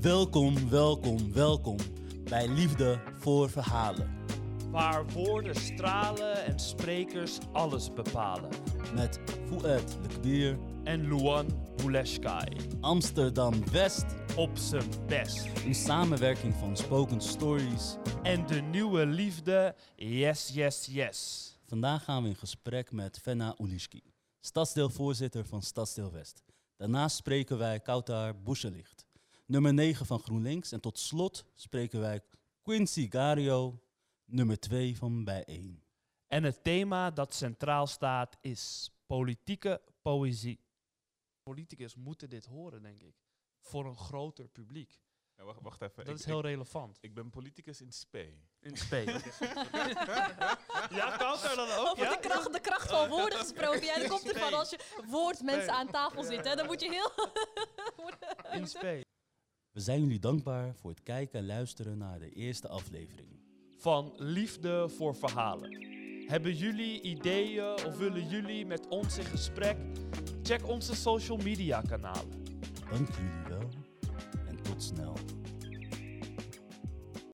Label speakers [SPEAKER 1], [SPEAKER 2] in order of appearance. [SPEAKER 1] Welkom, welkom, welkom bij Liefde voor Verhalen.
[SPEAKER 2] Waar woorden stralen en sprekers alles bepalen.
[SPEAKER 1] Met Fouad Lekbier,
[SPEAKER 2] En Luan Buleshkai
[SPEAKER 1] Amsterdam West,
[SPEAKER 2] op zijn best.
[SPEAKER 1] een samenwerking van Spoken Stories.
[SPEAKER 2] En de nieuwe liefde, yes, yes, yes.
[SPEAKER 1] Vandaag gaan we in gesprek met Fenna Uliski, stadsdeelvoorzitter van Stadsdeel West. Daarnaast spreken wij Kautar Boeselicht, nummer 9 van GroenLinks. En tot slot spreken wij Quincy Gario, nummer 2 van Bijeen.
[SPEAKER 2] En het thema dat centraal staat is politieke poëzie. Politicus moeten dit horen, denk ik. Voor een groter publiek.
[SPEAKER 3] Ja, wacht, wacht even.
[SPEAKER 2] Dat
[SPEAKER 3] ik,
[SPEAKER 2] is heel
[SPEAKER 3] ik,
[SPEAKER 2] relevant.
[SPEAKER 3] ik ben politicus in spe.
[SPEAKER 2] In spe. ja, kan er dan ook?
[SPEAKER 4] Over
[SPEAKER 2] Ja?
[SPEAKER 4] de, kracht, de kracht van woorden gesproken. Ja, dat komt ervan als je woordmensen aan tafel zit. Hè, dan moet je heel...
[SPEAKER 2] In spe.
[SPEAKER 1] We zijn jullie dankbaar voor het kijken en luisteren naar de eerste aflevering.
[SPEAKER 2] van liefde voor verhalen. Hebben jullie ideeën of willen jullie met ons in gesprek? Check onze social media kanalen.
[SPEAKER 1] Dank jullie wel en tot snel.